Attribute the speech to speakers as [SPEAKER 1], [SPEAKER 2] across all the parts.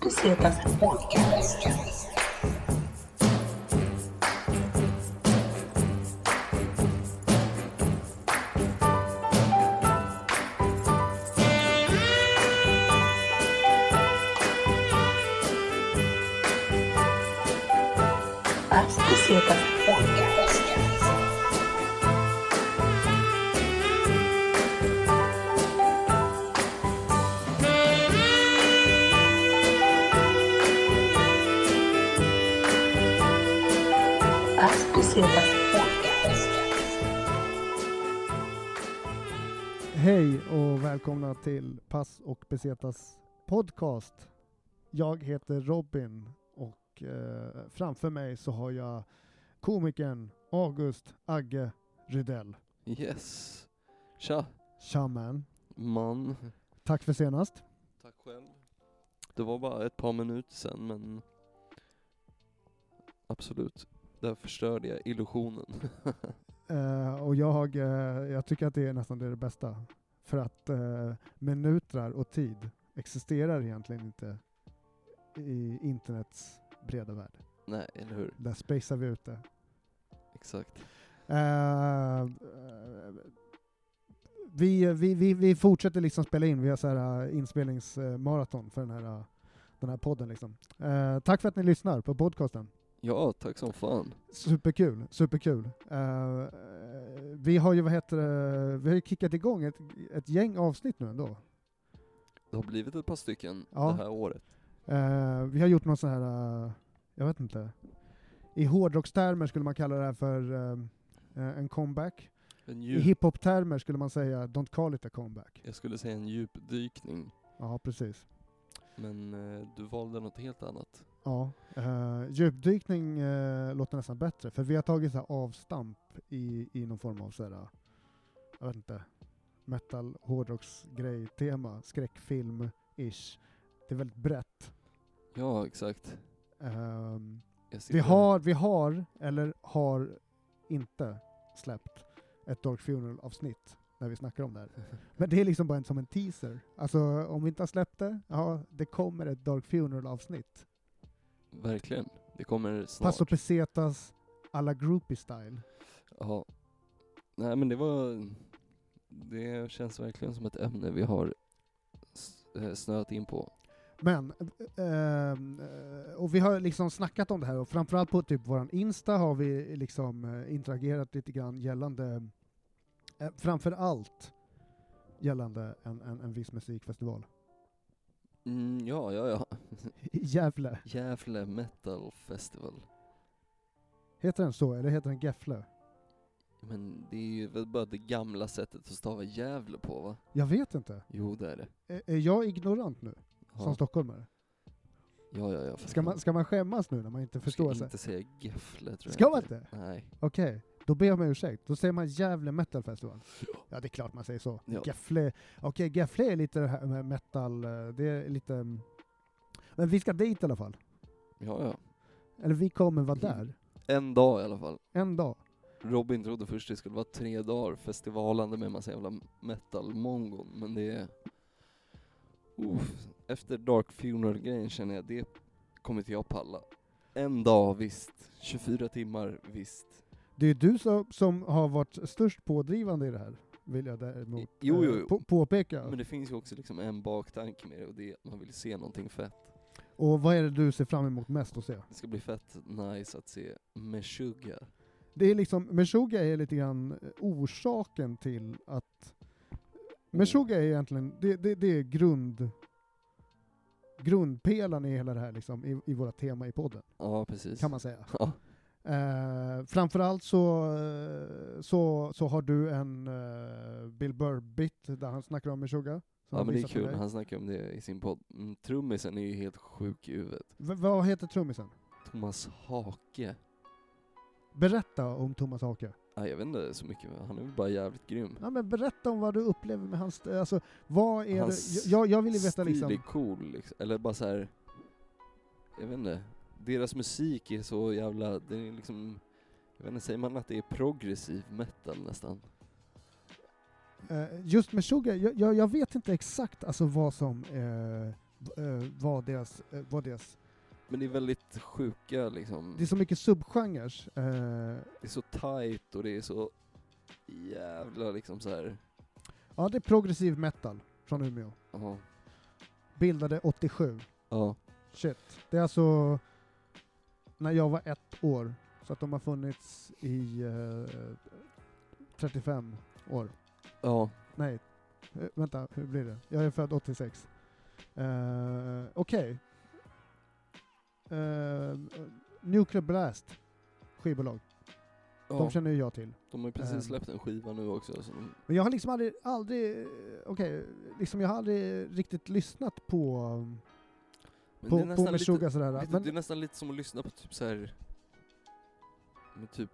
[SPEAKER 1] Pesetas Podcast. As Pesetas Podcast. As Pesetas Podcast.
[SPEAKER 2] Hej och välkomna till Pass och Pesetas podcast. Jag heter Robin och eh, framför mig så har jag komikern August Agge Rydell.
[SPEAKER 3] Yes. Tja,
[SPEAKER 2] Tja man.
[SPEAKER 3] man.
[SPEAKER 2] Tack för senast.
[SPEAKER 3] Tack själv. Det var bara ett par minuter sen men absolut. Där förstörde jag illusionen.
[SPEAKER 2] Eh, och jag, eh, jag tycker att det är nästan det bästa. För att eh, minuter och tid existerar egentligen inte i internets breda värld.
[SPEAKER 3] Nej, eller hur?
[SPEAKER 2] Där spacear vi ut det.
[SPEAKER 3] Exakt.
[SPEAKER 2] Eh, eh, vi, vi, vi, vi fortsätter liksom spela in, vi har så här eh, inspelningsmaraton för den här, eh, den här podden. Liksom. Eh, tack för att ni lyssnar på podcasten.
[SPEAKER 3] Ja, tack som fan.
[SPEAKER 2] Superkul, superkul. Eh, vi har ju, vad heter det, vi har ju kickat igång ett, ett gäng avsnitt nu ändå.
[SPEAKER 3] Det har blivit ett par stycken
[SPEAKER 2] Ja.
[SPEAKER 3] det här året.
[SPEAKER 2] Eh, vi har gjort någon sån här, eh, jag vet inte, i hårdrockstermer skulle man kalla det här för eh, en comeback.
[SPEAKER 3] En
[SPEAKER 2] I
[SPEAKER 3] djup,
[SPEAKER 2] hiphop-termer skulle man säga, don't call it a comeback.
[SPEAKER 3] jag skulle säga en djupdykning.
[SPEAKER 2] Ja, precis.
[SPEAKER 3] Men eh, du valde något helt annat.
[SPEAKER 2] Ja, eh, djupdykning eh, låter nästan bättre, för vi har tagit så här avstamp i, i någon form av så här, jag vet inte, metal, hårdrocksgrej, tema, skräckfilm-ish. Det är väldigt brett.
[SPEAKER 3] Ja, exakt.
[SPEAKER 2] Ehm,
[SPEAKER 3] Jag sitter-
[SPEAKER 2] vi, har, vi har, eller har inte släppt ett Dark Funeral-avsnitt när vi snackar om det här. Men det är liksom bara en, som en teaser. Alltså om vi inte har släppt det, ja, det kommer ett Dark Funeral-avsnitt.
[SPEAKER 3] Verkligen. Det kommer snart.
[SPEAKER 2] Paso Pesetas alla groupie style.
[SPEAKER 3] Ja. Nej men det var... Det känns verkligen som ett ämne vi har s- eh, snöat in på.
[SPEAKER 2] Men, ehm, eh, och vi har liksom snackat om det här och framförallt på typ våran Insta har vi liksom eh, interagerat lite grann gällande, eh, framförallt gällande en, en, en viss musikfestival.
[SPEAKER 3] Mm, ja, ja, ja.
[SPEAKER 2] I Gävle.
[SPEAKER 3] Gävle Metal Festival.
[SPEAKER 2] Heter den så, eller heter den Gefle?
[SPEAKER 3] Men det är ju väl bara det gamla sättet att stava Gävle på va?
[SPEAKER 2] Jag vet inte.
[SPEAKER 3] Jo det är det.
[SPEAKER 2] Är, är jag ignorant nu, som
[SPEAKER 3] Ja,
[SPEAKER 2] stockholmare?
[SPEAKER 3] ja, ja. ja för
[SPEAKER 2] Ska man,
[SPEAKER 3] fan.
[SPEAKER 2] ska man skämmas nu när man inte förstår?
[SPEAKER 3] Ska
[SPEAKER 2] sig?
[SPEAKER 3] inte säga Gefle tror jag
[SPEAKER 2] Ska man inte?
[SPEAKER 3] Nej.
[SPEAKER 2] Okej, då ber jag om ursäkt. Då säger man Gävle Metal Festival. Ja, det är klart man säger så.
[SPEAKER 3] Ja.
[SPEAKER 2] Gefle. Okej, Gefle är lite det här med metal, eh, det är lite... mm. Men vi ska dit i alla fall.
[SPEAKER 3] Ja, ja.
[SPEAKER 2] Eller vi kommer vara
[SPEAKER 3] Mm.
[SPEAKER 2] där.
[SPEAKER 3] En dag i alla fall.
[SPEAKER 2] En dag.
[SPEAKER 3] Robin trodde först det skulle vara tre dagar festivalande med massa jävla metal-mongon, men det är... Uff, efter Dark Funeral-grejen känner jag, det kommer inte jag palla. En dag visst, 24 timmar visst.
[SPEAKER 2] Det är ju du som, som har varit störst pådrivande i det här, vill jag däremot eh,
[SPEAKER 3] Jo, jo, jo.
[SPEAKER 2] På, påpeka.
[SPEAKER 3] Men det finns ju också liksom en baktanke med det och det är att man vill se någonting fett.
[SPEAKER 2] Och vad är det du ser fram emot mest att se?
[SPEAKER 3] Det ska bli fett nice att se Meshuggah.
[SPEAKER 2] Det är liksom, Meshuggah är lite grann eh, orsaken till att...
[SPEAKER 3] Mm.
[SPEAKER 2] Meshuggah är egentligen, det, det, det är grund... Grundpelaren i hela det här liksom, i, i våra tema i podden,
[SPEAKER 3] Ja, precis.
[SPEAKER 2] kan man säga.
[SPEAKER 3] Ja,
[SPEAKER 2] Eh, framförallt så, eh, så, så har du en eh, Bill Burr-bit där han snackar om Meshuggah. som
[SPEAKER 3] ja
[SPEAKER 2] han
[SPEAKER 3] men det är
[SPEAKER 2] visar för
[SPEAKER 3] kul,
[SPEAKER 2] dig.
[SPEAKER 3] han snackar om det i sin podd. Mm, Trummisen är ju helt sjuk i huvudet.
[SPEAKER 2] V- vad heter trummisen?
[SPEAKER 3] Thomas Hake.
[SPEAKER 2] Berätta om Thomas Hake.
[SPEAKER 3] Nej, jag vet inte så mycket, men han är väl bara jävligt grym.
[SPEAKER 2] Ja, men berätta om vad du upplever med hans... Alltså, vad är
[SPEAKER 3] Hans
[SPEAKER 2] det? Jag, jag vill ju veta
[SPEAKER 3] Stil
[SPEAKER 2] liksom...
[SPEAKER 3] är cool, liksom. eller bara så här. jag vet inte. Deras musik är så jävla, det är liksom, jag vet inte, säger man att det är progressiv metal nästan?
[SPEAKER 2] Eh, just med Sugar, jag, jag, jag vet inte exakt alltså vad som eh, eh, vad, deras, eh, vad deras...
[SPEAKER 3] Men det är väldigt sjuka liksom.
[SPEAKER 2] Det är så mycket subgenres. Eh,
[SPEAKER 3] Det är så tight och det är så jävla liksom så här.
[SPEAKER 2] ja, det är progressiv metal från Umeå.
[SPEAKER 3] Ja.
[SPEAKER 2] Bildade 87.
[SPEAKER 3] Ja.
[SPEAKER 2] Shit. Det är alltså när jag var ett år. Så att de har funnits i eh, 35 år.
[SPEAKER 3] Ja.
[SPEAKER 2] Nej, eh, vänta, hur blir det? Jag är född 86. Eh, Okej. Eh, Nuclear Blast skivbolag.
[SPEAKER 3] ja.
[SPEAKER 2] De känner ju jag till.
[SPEAKER 3] De har ju precis
[SPEAKER 2] Ehm.
[SPEAKER 3] släppt en skiva nu också. Så de,
[SPEAKER 2] Men jag har liksom aldrig, aldrig eh, okej, liksom jag har aldrig riktigt lyssnat på,
[SPEAKER 3] men det är
[SPEAKER 2] på, på
[SPEAKER 3] nästan lite,
[SPEAKER 2] Meshuggah sådär.
[SPEAKER 3] lite,
[SPEAKER 2] Men,
[SPEAKER 3] Det är nästan lite som att lyssna på typ så här. Men typ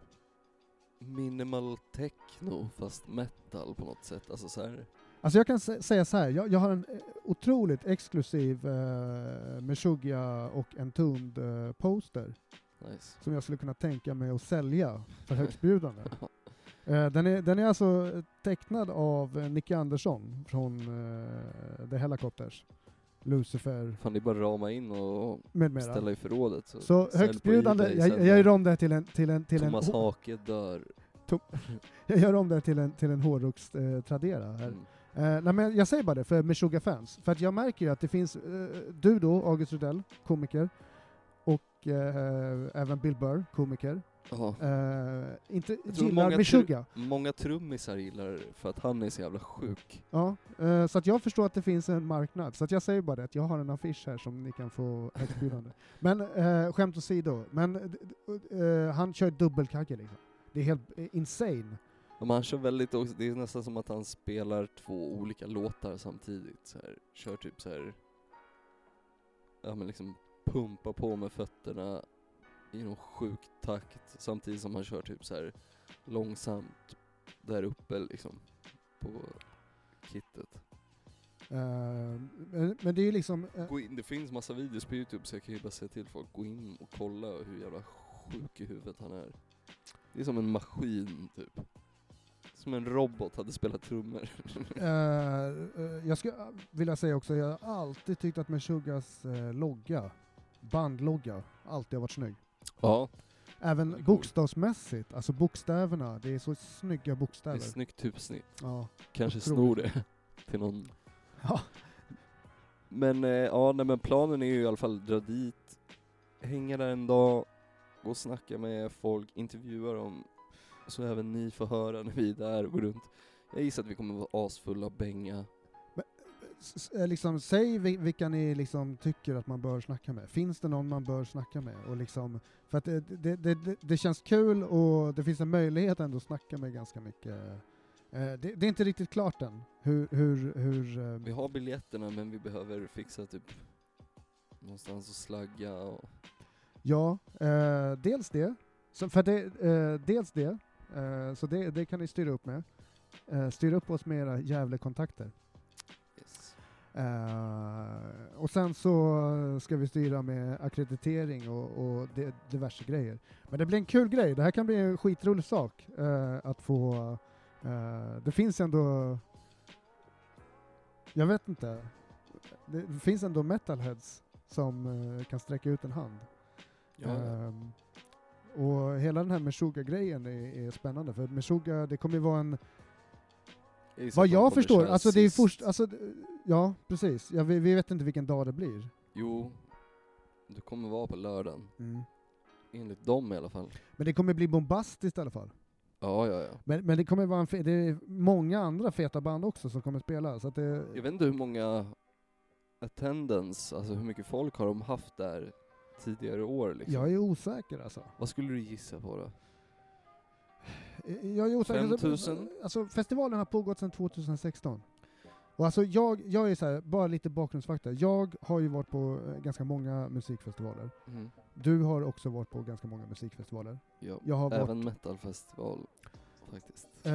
[SPEAKER 3] minimal techno fast metal på något sätt. Alltså så här.
[SPEAKER 2] Alltså jag kan sä- säga så här, jag, jag har en eh, otroligt exklusiv eh, Meshuggah och Entombed eh, poster
[SPEAKER 3] Nice.
[SPEAKER 2] som jag skulle kunna tänka mig att sälja för högstbjudande. eh, den, är, den är alltså tecknad av eh, Nicky Andersson från eh, The Helicopters, Lucifer
[SPEAKER 3] Fan det är bara att rama in och
[SPEAKER 2] med mera.
[SPEAKER 3] ställa i förrådet. Så,
[SPEAKER 2] Så
[SPEAKER 3] sälj på
[SPEAKER 2] högstbjudande,
[SPEAKER 3] eBay
[SPEAKER 2] jag,
[SPEAKER 3] sen
[SPEAKER 2] jag
[SPEAKER 3] när
[SPEAKER 2] gör om det här till en, till en, till en,
[SPEAKER 3] Thomas
[SPEAKER 2] hår-
[SPEAKER 3] Hake dör.
[SPEAKER 2] jag gör om det här till en, till en hårdrocks eh, Tradera här.
[SPEAKER 3] Mm.
[SPEAKER 2] Eh, nej, men jag säger bara det för Meshuggah-fans. För att jag märker ju att det finns, eh, du då, August Rudell, komiker, och eh, även Bill Burr, komiker,
[SPEAKER 3] Ja.
[SPEAKER 2] eh, inte
[SPEAKER 3] Jag tror
[SPEAKER 2] gillar
[SPEAKER 3] många
[SPEAKER 2] Meshuggah.
[SPEAKER 3] Många trummisar gillar för att han är så jävla sjuk.
[SPEAKER 2] Ja, eh, så att jag förstår att det finns en marknad. Så att jag säger bara det, att jag har en affisch här som ni kan få erbjudande. men eh, skämt åsido, men d- d- eh, han kör dubbelkagge liksom. Det är helt eh, insane.
[SPEAKER 3] Ja, Men han kör väldigt också, det är nästan som att han spelar två olika låtar samtidigt. Så här. Kör typ så här. ja men liksom pumpa på med fötterna i någon sjuk takt samtidigt som han kör typ så här långsamt där uppe liksom på kittet.
[SPEAKER 2] Eh, men, men det är ju liksom... eh,
[SPEAKER 3] Gå in, det finns massa videos på youtube så jag kan ju bara säga till folk, gå in och kolla hur jävla sjuk i huvudet han är. Det är som en maskin typ. Som en robot hade spelat trummor.
[SPEAKER 2] Eh, eh, jag skulle vilja säga också, jag har alltid tyckt att Meshuggahs eh, logga, bandlogga, alltid har varit snygg.
[SPEAKER 3] Ja, Den är
[SPEAKER 2] Även
[SPEAKER 3] cool.
[SPEAKER 2] bokstavsmässigt, alltså bokstäverna, det är så snygga
[SPEAKER 3] det är
[SPEAKER 2] bokstäver.
[SPEAKER 3] snyggt typsnitt.
[SPEAKER 2] ja.
[SPEAKER 3] Kanske
[SPEAKER 2] Otroligt.
[SPEAKER 3] snor det till någon.
[SPEAKER 2] Ja.
[SPEAKER 3] Men eh, ja, nej, men planen är ju i alla fall dra dit, hänga där en dag, gå och snacka med folk, intervjua dem. Så även ni får höra när vi är där och går runt. Jag gissar att vi kommer vara asfulla och bänga.
[SPEAKER 2] S- s- eh, liksom, säg vi- vilka ni liksom tycker att man bör snacka med. Finns det någon man bör snacka med? Och liksom, för att det, det, det, det- det känns kul och det finns en möjlighet ändå att snacka med ganska mycket. Eh, det, det är inte riktigt klart än hur, hur, hur eh,
[SPEAKER 3] Vi har biljetterna men vi behöver fixa typ någonstans att slagga och...
[SPEAKER 2] Ja, eh, dels det. Så för det eh, dels det, eh, så det, det kan ni styra upp med. Eh, styra upp oss med era Gävle-kontakter.
[SPEAKER 3] Yes.
[SPEAKER 2] Eh, och sen så ska vi styra med akkreditering och, och det, diverse grejer. Men det blir en kul grej, det här kan bli en skitrolig sak eh, att få... eh, det finns ändå... Jag vet inte. Det finns ändå metalheads som eh, kan sträcka ut en hand.
[SPEAKER 3] Ja,
[SPEAKER 2] Ehm, och hela den här Meshuggah-grejen är, är spännande för Meshuggah, det kommer ju vara en,
[SPEAKER 3] jag gissar
[SPEAKER 2] vad
[SPEAKER 3] att de
[SPEAKER 2] jag
[SPEAKER 3] kommer
[SPEAKER 2] förstår,
[SPEAKER 3] köra
[SPEAKER 2] alltså det är
[SPEAKER 3] sist.
[SPEAKER 2] först, alltså, d- ja precis, ja, vi, vi vet inte vilken dag det blir.
[SPEAKER 3] Jo, du kommer vara på lördagen. Enligt dem i alla fall.
[SPEAKER 2] Men det kommer bli bombastiskt i alla fall.
[SPEAKER 3] Ja, ja, ja.
[SPEAKER 2] Men, men det kommer vara en, fe- det är många andra feta band också som kommer spela, så att det,
[SPEAKER 3] Jag vet inte hur många attendance, alltså hur mycket folk har de haft där tidigare år liksom?
[SPEAKER 2] jag är osäker alltså.
[SPEAKER 3] Vad skulle du gissa på då?
[SPEAKER 2] Eh, Jag är osäker.
[SPEAKER 3] 5000?
[SPEAKER 2] Alltså, festivalen har pågått sedan 2016. Och alltså jag, jag är så här, bara lite bakgrundsfakta. Jag har ju varit på eh, ganska många musikfestivaler.
[SPEAKER 3] Mm.
[SPEAKER 2] Du har också varit på ganska många musikfestivaler.
[SPEAKER 3] Ja.
[SPEAKER 2] Jag har varit...
[SPEAKER 3] Även metalfestival faktiskt.
[SPEAKER 2] Eh,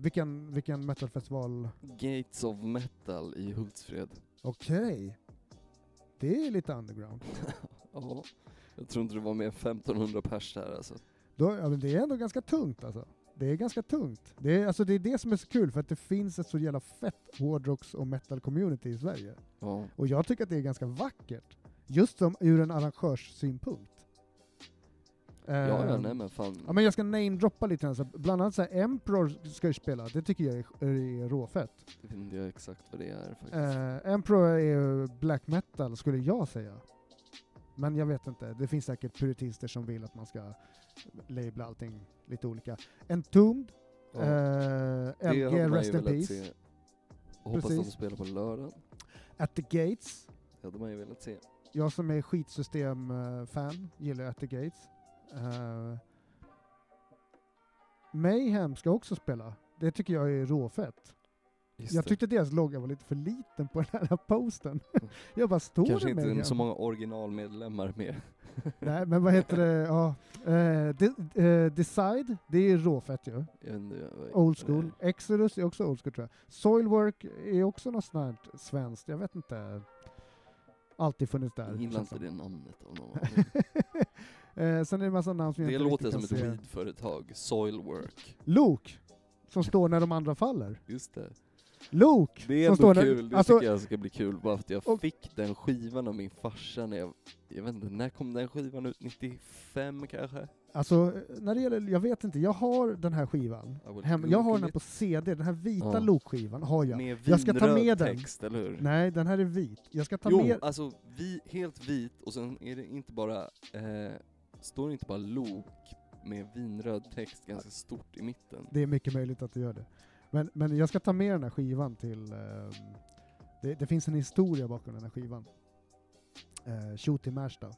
[SPEAKER 2] vilken, vilken metalfestival?
[SPEAKER 3] Gates of metal i Hultsfred.
[SPEAKER 2] Okej. Det är lite underground.
[SPEAKER 3] ja. Jag tror inte det var mer än 1500 pers där alltså.
[SPEAKER 2] Då, ja, men det är ändå ganska tungt alltså. Det är ganska tungt. Det är, alltså det är det som är så kul, för att det finns ett så jävla fett hårdrocks och metal-community i Sverige.
[SPEAKER 3] Ja.
[SPEAKER 2] Och jag tycker att det är ganska vackert. Just som ur en arrangörssynpunkt.
[SPEAKER 3] Ja, ja,
[SPEAKER 2] Ehm,
[SPEAKER 3] nej men fan.
[SPEAKER 2] Ja, men jag ska namedroppa lite grann. så här. Bland annat så här, Emperor ska ju spela, det tycker jag är, är råfett.
[SPEAKER 3] Jag vet inte exakt vad det är faktiskt.
[SPEAKER 2] Eh, Emperor är ju black metal, skulle jag säga. Men jag vet inte, det finns säkert puritister som vill att man ska labla allting lite olika. Entombed,
[SPEAKER 3] ja.
[SPEAKER 2] eh,
[SPEAKER 3] Det
[SPEAKER 2] LG,
[SPEAKER 3] hade man ju
[SPEAKER 2] Rest in
[SPEAKER 3] velat
[SPEAKER 2] Peace,
[SPEAKER 3] se. Och Hoppas de
[SPEAKER 2] Precis.
[SPEAKER 3] spelar på lördagen.
[SPEAKER 2] At the Gates.
[SPEAKER 3] Det hade man ju velat se.
[SPEAKER 2] Jag som är skitsystem-fan gillar At the Gates. Eh, Mayhem ska också spela. Det tycker jag är råfett.
[SPEAKER 3] Just
[SPEAKER 2] Jag
[SPEAKER 3] det. Mm.
[SPEAKER 2] tyckte deras logga var lite för liten på den här posten. Jag bara, står
[SPEAKER 3] Kanske
[SPEAKER 2] det
[SPEAKER 3] inte
[SPEAKER 2] Mayhem?
[SPEAKER 3] så många originalmedlemmar med.
[SPEAKER 2] Nej, men vad heter det? Ja. Eh, de, eh, Decide, det är råfett ju.
[SPEAKER 3] Jag eh, vet inte, jag-
[SPEAKER 2] Old school. Exodus är också old school tror jag. Soilwork är också något sånt här svenskt, jag vet inte. Alltid funnits där.
[SPEAKER 3] Jag gillar
[SPEAKER 2] känns
[SPEAKER 3] inte
[SPEAKER 2] som.
[SPEAKER 3] det namnet av någon anledning.
[SPEAKER 2] eh, sen är det en massa namn som jag
[SPEAKER 3] Det
[SPEAKER 2] inte
[SPEAKER 3] låter
[SPEAKER 2] riktigt kan
[SPEAKER 3] som ett
[SPEAKER 2] se.
[SPEAKER 3] weedföretag. Soilwork.
[SPEAKER 2] Luke, som står när de andra faller.
[SPEAKER 3] Just det.
[SPEAKER 2] Luke!
[SPEAKER 3] Det är
[SPEAKER 2] som
[SPEAKER 3] ändå
[SPEAKER 2] står när-
[SPEAKER 3] kul, det
[SPEAKER 2] alltså-
[SPEAKER 3] tycker jag ska bli kul. Bara för att jag
[SPEAKER 2] Och-
[SPEAKER 3] fick den skivan av min farsa när jag, jag vet inte, när kom den skivan ut? 95 kanske?
[SPEAKER 2] Alltså, när det gäller, jag vet inte, jag har den här skivan.
[SPEAKER 3] I will
[SPEAKER 2] Hem, jag har den
[SPEAKER 3] Google
[SPEAKER 2] här på CD, den här vita
[SPEAKER 3] Ja.
[SPEAKER 2] Luke-skivan har jag.
[SPEAKER 3] Med
[SPEAKER 2] Jag ska ta
[SPEAKER 3] vinröd
[SPEAKER 2] med den.
[SPEAKER 3] text, eller hur?
[SPEAKER 2] Nej, den här är vit. Jag ska ta
[SPEAKER 3] jo,
[SPEAKER 2] med...
[SPEAKER 3] alltså vi, helt vit och sen är det inte bara, eh, står det inte bara lok med vinröd text ganska stort i mitten?
[SPEAKER 2] Det är mycket möjligt att du gör det. Men, men jag ska ta med den här skivan till... ehm, det, det finns en historia bakom den här skivan. Eh, shoot i Märsta.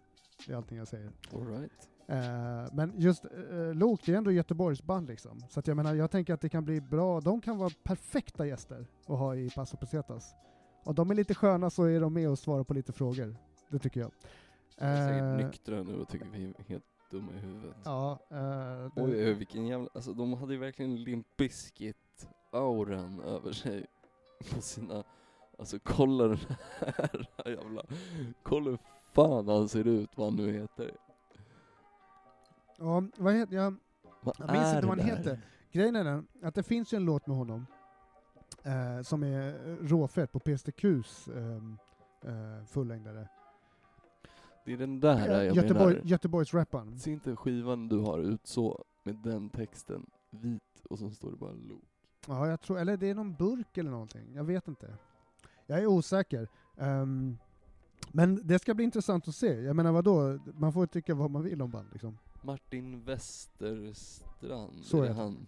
[SPEAKER 2] Det är allting jag säger.
[SPEAKER 3] Alright.
[SPEAKER 2] Eh, men just eh, Lok, det är ändå Göteborgsband liksom. Så att jag menar, jag tänker att det kan bli bra. De kan vara perfekta gäster att ha i Paso Pesetas. Om de är lite sköna så är de med och svarar på lite frågor. Det tycker jag.
[SPEAKER 3] Jag är
[SPEAKER 2] Eh,
[SPEAKER 3] säkert nyktra nu och tycker vi är helt dumma i huvudet.
[SPEAKER 2] Ja, eh, det-
[SPEAKER 3] Oj, oj, vilken jävla, alltså de hade ju verkligen Limp Bizkit-auran över sig på sina, alltså kolla den här jävla, kolla hur fan han ser ut, vad han nu heter.
[SPEAKER 2] ja, vad heter jag?
[SPEAKER 3] Vad
[SPEAKER 2] Jag minns
[SPEAKER 3] är
[SPEAKER 2] inte vad
[SPEAKER 3] det
[SPEAKER 2] han
[SPEAKER 3] där?
[SPEAKER 2] heter. Grejen är den att det finns ju en låt med honom eh, som är råfett på PSTQs ehm, eh, fullängdare.
[SPEAKER 3] Det är den där jag
[SPEAKER 2] Eh, Göteborg,
[SPEAKER 3] menar.
[SPEAKER 2] Göteborgsrapparen.
[SPEAKER 3] Ser inte skivan du har ut så, med den texten, vit, och så står det bara Lo.
[SPEAKER 2] Ja, jag tror, eller det är någon burk eller någonting. Jag vet inte. Jag är osäker. Ehm, men det ska bli intressant att se. Jag menar vadå, man får tycka vad man vill om band liksom.
[SPEAKER 3] Martin Westerstrand,
[SPEAKER 2] Så
[SPEAKER 3] är det
[SPEAKER 2] heter han.
[SPEAKER 3] han?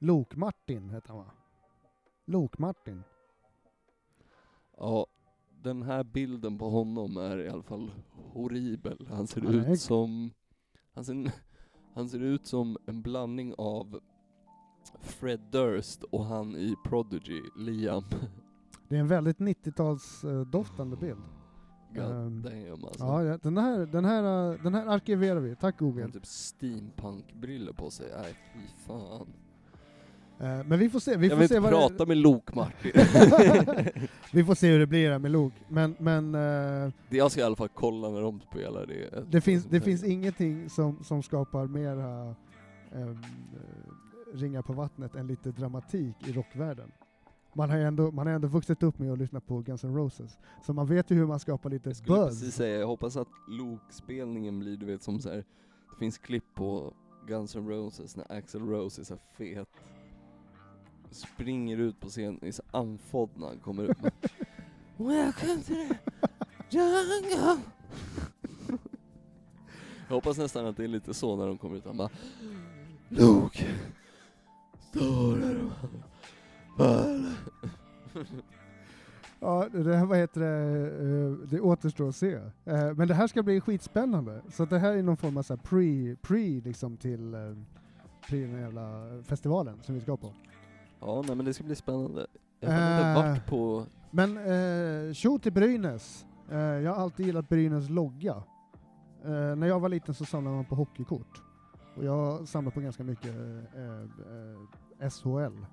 [SPEAKER 2] Lok-Martin heter han va? Lok-Martin.
[SPEAKER 3] Ja, den här bilden på honom är i alla fall horribel. Han ser
[SPEAKER 2] Han är-
[SPEAKER 3] ut som... Han ser, han ser ut som en blandning av Fred Durst och han i Prodigy, Liam.
[SPEAKER 2] Det är en väldigt 90-talsdoftande bild.
[SPEAKER 3] God
[SPEAKER 2] Ehm,
[SPEAKER 3] damn alltså.
[SPEAKER 2] Ja, ja, den här, den, här, eh, den här arkiverar vi. Tack
[SPEAKER 3] han
[SPEAKER 2] Google.
[SPEAKER 3] har typ steampunk-briller på sig. Nej, fy fan.
[SPEAKER 2] Eh, men vi får se. Vi
[SPEAKER 3] Mm. jag
[SPEAKER 2] får
[SPEAKER 3] vill
[SPEAKER 2] se
[SPEAKER 3] inte
[SPEAKER 2] vad
[SPEAKER 3] prata med Lok Martin.
[SPEAKER 2] Det... vi får se hur det blir här med Log. Men, men eh,
[SPEAKER 3] Det jag ska i alla fall kolla när de spelar det. Alltså,
[SPEAKER 2] det, finns, det finns ingenting som, som skapar mera um, ringar eh, på vattnet än lite dramatik i rockvärlden. Man har, ju ändå, man har ändå vuxit upp med att lyssna på Guns N' Roses, så man vet ju hur man skapar lite
[SPEAKER 3] Jag skulle precis
[SPEAKER 2] buzz.
[SPEAKER 3] säga, jag hoppas att Luke-spelningen blir du vet som så här. det finns klipp på Guns N' Roses när Axl Rose är så här fet. Springer ut på scenen, är så andfådd när han kommer upp. Welcome to the jungle. jag hoppas nästan att det är lite så när de kommer ut, han bara Luke, står där och bara-
[SPEAKER 2] Ja, det här, vad heter det, eh, det återstår att se. Eh, men det här ska bli skitspännande. Så det här är någon form av så här pre, pre liksom till eh, pre den här jävla festivalen som vi ska på.
[SPEAKER 3] Ja, nej men det ska bli spännande. Jag har inte
[SPEAKER 2] Äh.
[SPEAKER 3] varit på...
[SPEAKER 2] Men eh, tjo till Brynäs. Eh, jag har alltid gillat Brynäs logga. Eh, när jag var liten så samlade man på hockeykort. Och jag samlar på ganska mycket eh, eh, SHL,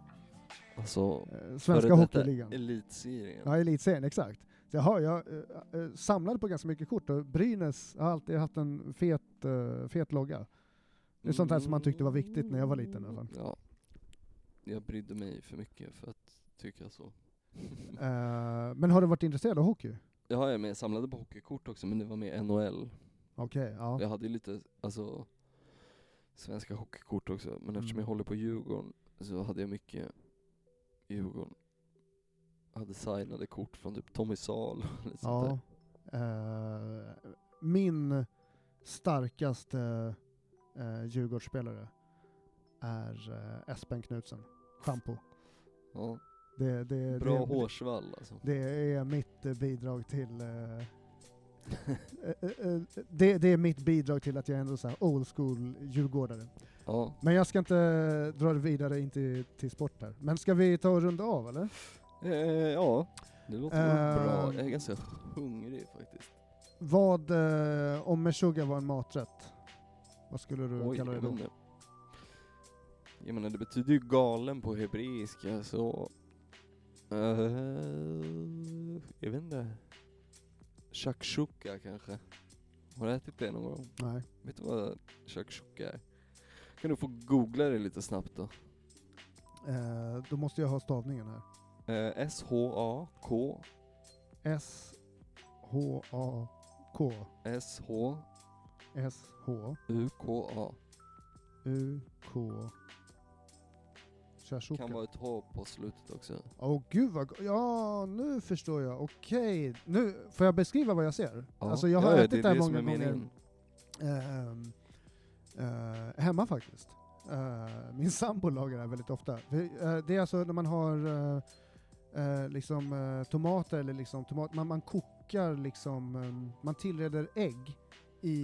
[SPEAKER 3] Alltså,
[SPEAKER 2] eh,
[SPEAKER 3] Före
[SPEAKER 2] Svenska
[SPEAKER 3] detta
[SPEAKER 2] Hockeyligan.
[SPEAKER 3] Elitserien.
[SPEAKER 2] Ja, elitserien, exakt. Så jag, har, jag eh, eh, samlade på ganska mycket kort och Brynäs har alltid haft en fet, eh, fet logga. Det är sånt här som man tyckte var viktigt när jag var liten i alla fall.
[SPEAKER 3] Ja. Jag brydde mig för mycket för att tycka så.
[SPEAKER 2] Eh, men har du varit intresserad av hockey?
[SPEAKER 3] Ja, jag med. Jag samlade på hockeykort också, men det var mer NHL.
[SPEAKER 2] Okej, ja.
[SPEAKER 3] Jag hade ju lite, alltså, svenska hockeykort också, men eftersom
[SPEAKER 2] Mm.
[SPEAKER 3] jag håller på Djurgården så hade jag mycket Djurgården. Jag hade signade kort från typ Tommy Sahl och lite sånt där.
[SPEAKER 2] ja. Eh, min starkaste uh, Djurgårdsspelare är eh, Espen Knutsen, Shampoo.
[SPEAKER 3] Ja.
[SPEAKER 2] Det, det,
[SPEAKER 3] Bra
[SPEAKER 2] det,
[SPEAKER 3] hårsvall alltså.
[SPEAKER 2] Det är mitt eh, bidrag till... eh, eh, eh, det, det är mitt bidrag till att jag är ändå så här old school djurgårdare.
[SPEAKER 3] Ja,
[SPEAKER 2] Men jag ska inte dra det vidare in till, till sport här. Men ska vi ta och runda av eller?
[SPEAKER 3] eh, ja. det låter väl bra.
[SPEAKER 2] Ehm.
[SPEAKER 3] Jag är ganska hungrig faktiskt.
[SPEAKER 2] Vad, eh, om meshuggah var en maträtt, vad skulle du
[SPEAKER 3] Oj,
[SPEAKER 2] kalla det
[SPEAKER 3] jag
[SPEAKER 2] då?
[SPEAKER 3] menar, jag menar det betyder ju galen på hebreiska så... eh, jag vet inte. Shakshuka kanske? Har du ätit det någon gång?
[SPEAKER 2] Nej.
[SPEAKER 3] Vet du vad shakshuka är? Kan du få googla det lite snabbt då?
[SPEAKER 2] Eh, då måste jag ha stavningen här.
[SPEAKER 3] Eh, S-H-A-K
[SPEAKER 2] S-H-A-K.
[SPEAKER 3] S-H-U-K-A
[SPEAKER 2] S-H-U-K. Shashuka.
[SPEAKER 3] Kan vara ett H på slutet också.
[SPEAKER 2] Åh gud vad go- Ja, nu förstår jag. Okej. Nu, får jag beskriva vad jag ser?
[SPEAKER 3] Ja.
[SPEAKER 2] Alltså jag har
[SPEAKER 3] Ja, ja,
[SPEAKER 2] ätit det,
[SPEAKER 3] är
[SPEAKER 2] här
[SPEAKER 3] som
[SPEAKER 2] många
[SPEAKER 3] är
[SPEAKER 2] gånger
[SPEAKER 3] meningen.
[SPEAKER 2] ehm, eh, hemma faktiskt. Eh, min sambo lagar det här väldigt ofta. Vi, eh, det är alltså när man har eh, eh, liksom eh, tomater eller liksom tomat, man, man kokar liksom, eh, man tillreder ägg i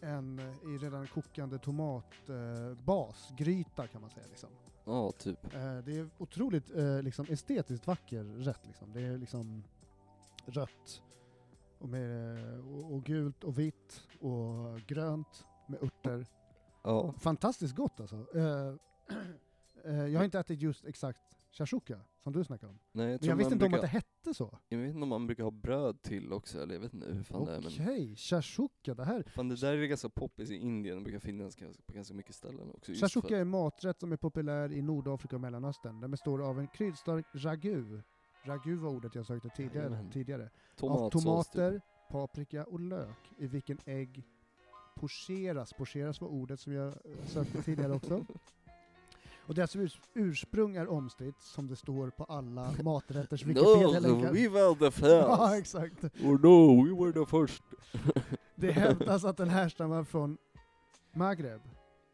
[SPEAKER 2] en eh, i redan kokande tomatbas, eh, bas, gryta kan man säga liksom.
[SPEAKER 3] Ja, typ.
[SPEAKER 2] Eh, det är otroligt eh, liksom, estetiskt vacker rätt. Liksom. Det är liksom rött och, med, eh, och, och gult och vitt och grönt med örter.
[SPEAKER 3] Ja.
[SPEAKER 2] Fantastiskt gott alltså. Eh, eh, jag har inte ätit just exakt shakshuka som du snackar om.
[SPEAKER 3] Nej, jag,
[SPEAKER 2] Men
[SPEAKER 3] tror
[SPEAKER 2] jag visste
[SPEAKER 3] man
[SPEAKER 2] inte om att
[SPEAKER 3] brukar,
[SPEAKER 2] det hette så.
[SPEAKER 3] jag vet inte om man brukar ha bröd till också, eller jag vet inte hur fan det
[SPEAKER 2] Okej,
[SPEAKER 3] är. Men
[SPEAKER 2] shakshuka. Det här.
[SPEAKER 3] Fan det där är ganska poppis i Indien, det brukar finnas ganska, på ganska mycket ställen också. just för
[SPEAKER 2] Shakshuka är en maträtt som är populär i Nordafrika och Mellanöstern. Den består av en kryddstark ragu. Ragu var ordet jag sökte tidigare.
[SPEAKER 3] Jajamän.
[SPEAKER 2] tidigare.
[SPEAKER 3] att
[SPEAKER 2] av
[SPEAKER 3] tomatsås
[SPEAKER 2] tomater,
[SPEAKER 3] Typ.
[SPEAKER 2] paprika och lök i vilken ägg pocheras. Pocheras var ordet som jag eh, sökte tidigare också. Och deras urs- ursprung är omstritt, som det står på alla maträtters
[SPEAKER 3] typ. No,
[SPEAKER 2] Wikipedia-länkar.
[SPEAKER 3] we were the
[SPEAKER 2] Ja,
[SPEAKER 3] first!
[SPEAKER 2] exakt.
[SPEAKER 3] Or no, we were the first!
[SPEAKER 2] Det hävdas att den härstammar från Maghreb,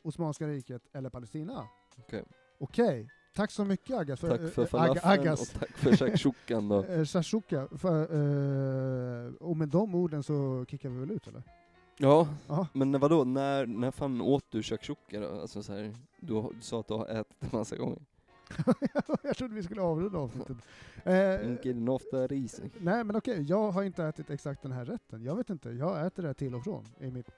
[SPEAKER 2] Osmanska riket eller Palestina.
[SPEAKER 3] Okej.
[SPEAKER 2] Okej. Tack så mycket Agas.
[SPEAKER 3] Tack för
[SPEAKER 2] eh, Aga-
[SPEAKER 3] falafeln
[SPEAKER 2] Agas.
[SPEAKER 3] och tack för shakshukan då.
[SPEAKER 2] Eh, Shashuka. För, eh, och med de orden så kickar vi väl ut eller?
[SPEAKER 3] Ja,
[SPEAKER 2] Ja.
[SPEAKER 3] men vadå, när, när fan åt du shakshuka då? Alltså så här, du, har- du sa att du har ätit det massa gånger.
[SPEAKER 2] jag trodde vi skulle avrunda avsnittet. Eh,
[SPEAKER 3] Dricker den ofta risen?
[SPEAKER 2] nej men okej, jag har inte ätit exakt den här rätten. Jag vet inte, jag äter det här till och från. I mitt...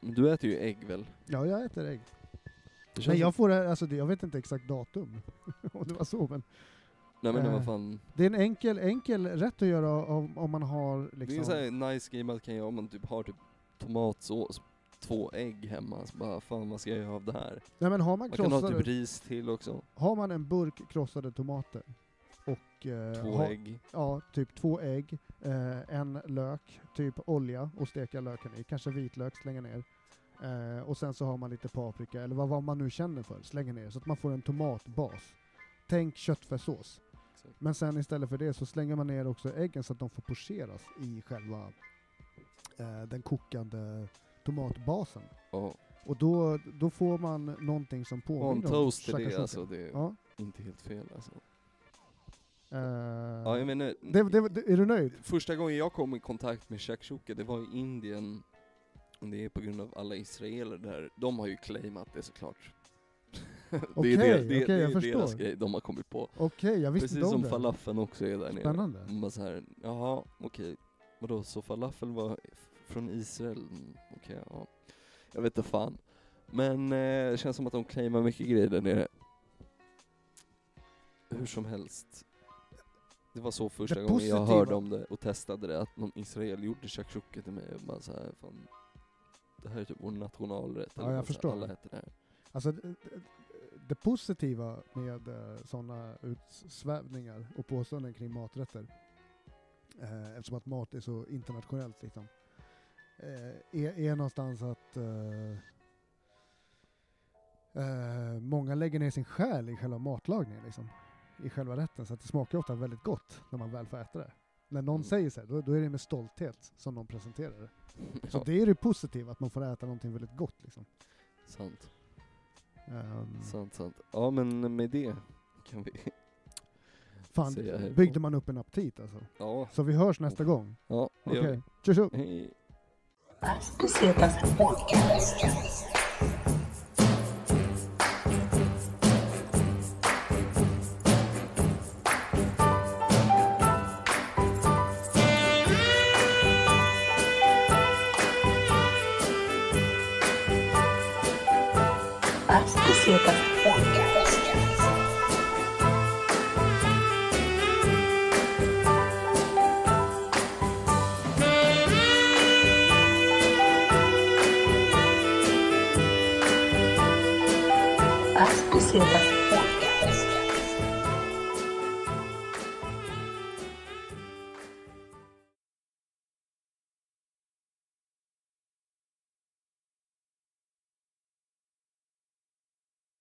[SPEAKER 3] Men Du äter ju ägg väl?
[SPEAKER 2] Ja, jag äter ägg.
[SPEAKER 3] Det känns
[SPEAKER 2] Men
[SPEAKER 3] som-
[SPEAKER 2] jag får det, här- alltså, det- jag vet inte exakt datum. om det var så, men
[SPEAKER 3] Nej men det var
[SPEAKER 2] eh,
[SPEAKER 3] fan...
[SPEAKER 2] det är en enkel, enkel rätt att göra om, om man har
[SPEAKER 3] Det är
[SPEAKER 2] liksom...
[SPEAKER 3] så här nice game att kan göra om man typ har typ tomatsås, två ägg hemma, så bara fan vad ska jag göra av det här?
[SPEAKER 2] Nej men har man,
[SPEAKER 3] Man kan ha
[SPEAKER 2] krossade,
[SPEAKER 3] typ ris till också,
[SPEAKER 2] har man en burk krossade tomater och... eh,
[SPEAKER 3] två
[SPEAKER 2] ha-
[SPEAKER 3] ägg.
[SPEAKER 2] Ja, typ två ägg, eh, en lök, typ olja och steka löken i. Kanske vitlök, slänga ner. Eh, och sen så har man lite paprika, eller vad, vad man nu känner för, slänga ner. Så att man får en tomatbas. Tänk köttfärssås.
[SPEAKER 3] Exakt.
[SPEAKER 2] Men sen istället för det så slänger man ner också äggen så att de får pocheras i själva eh, den kokande tomatbasen.
[SPEAKER 3] Ja.
[SPEAKER 2] Och då, då får man någonting som
[SPEAKER 3] Och en
[SPEAKER 2] påminner
[SPEAKER 3] toast till det
[SPEAKER 2] shakshuka.
[SPEAKER 3] alltså, det är
[SPEAKER 2] Ja.
[SPEAKER 3] inte helt fel alltså.
[SPEAKER 2] Eh,
[SPEAKER 3] Ja jag menar,
[SPEAKER 2] det, det, det, är du nöjd?
[SPEAKER 3] första gången jag kom i kontakt med shakshuka det var i Indien, och det är på grund av alla israeler där, de har ju claimat det såklart. det
[SPEAKER 2] Okej,
[SPEAKER 3] är, det, det,
[SPEAKER 2] okej, jag
[SPEAKER 3] det är deras
[SPEAKER 2] förstår.
[SPEAKER 3] grej de har kommit på.
[SPEAKER 2] Okej, jag visste
[SPEAKER 3] Precis
[SPEAKER 2] inte om
[SPEAKER 3] som
[SPEAKER 2] det.
[SPEAKER 3] falafeln också är där nere.
[SPEAKER 2] Spännande.
[SPEAKER 3] Man bara såhär, jaha, okej. Vadå, så falafel var f- från Israel? Mm, Okej, ja. Jag vet inte fan. Men eh, det känns som att de claimar mycket grejer där nere. Hur som helst. Det var så första
[SPEAKER 2] Det
[SPEAKER 3] gången jag
[SPEAKER 2] positiva-
[SPEAKER 3] hörde om det och testade det, att någon israel gjorde shakshuka till mig. Och bara såhär, fan. det här är typ vår nationalrätt.
[SPEAKER 2] Ja,
[SPEAKER 3] eller
[SPEAKER 2] jag
[SPEAKER 3] vad så här,
[SPEAKER 2] förstår.
[SPEAKER 3] Alla äter det här.
[SPEAKER 2] Alltså, d- d- det positiva med sådana utsvävningar och påståenden kring maträtter, eh, eftersom att mat är så internationellt liksom, eh, är, är någonstans att eh, eh, många lägger ner sin själ i själva matlagningen, liksom, i själva rätten, så att det smakar ofta väldigt gott när man väl får äta det. När någon
[SPEAKER 3] Mm.
[SPEAKER 2] säger så här, då, då är det med stolthet som någon presenterar det. Så
[SPEAKER 3] Ja,
[SPEAKER 2] det är det positiva, att man får äta någonting väldigt gott. Liksom.
[SPEAKER 3] sant,
[SPEAKER 2] Ehm,
[SPEAKER 3] sant, sant. Ja men med det kan vi...
[SPEAKER 2] Fan,
[SPEAKER 3] Säga hej då.
[SPEAKER 2] byggde man upp en aptit alltså.
[SPEAKER 3] Ja,
[SPEAKER 2] Så vi hörs nästa gång.
[SPEAKER 3] ja det
[SPEAKER 2] Okej,
[SPEAKER 3] gör vi.
[SPEAKER 2] okay. tjo tjo!
[SPEAKER 3] Hej.
[SPEAKER 1] Paz, Bucetas Podcast. Paz, Bucetas Podcast. Paz, Bucetas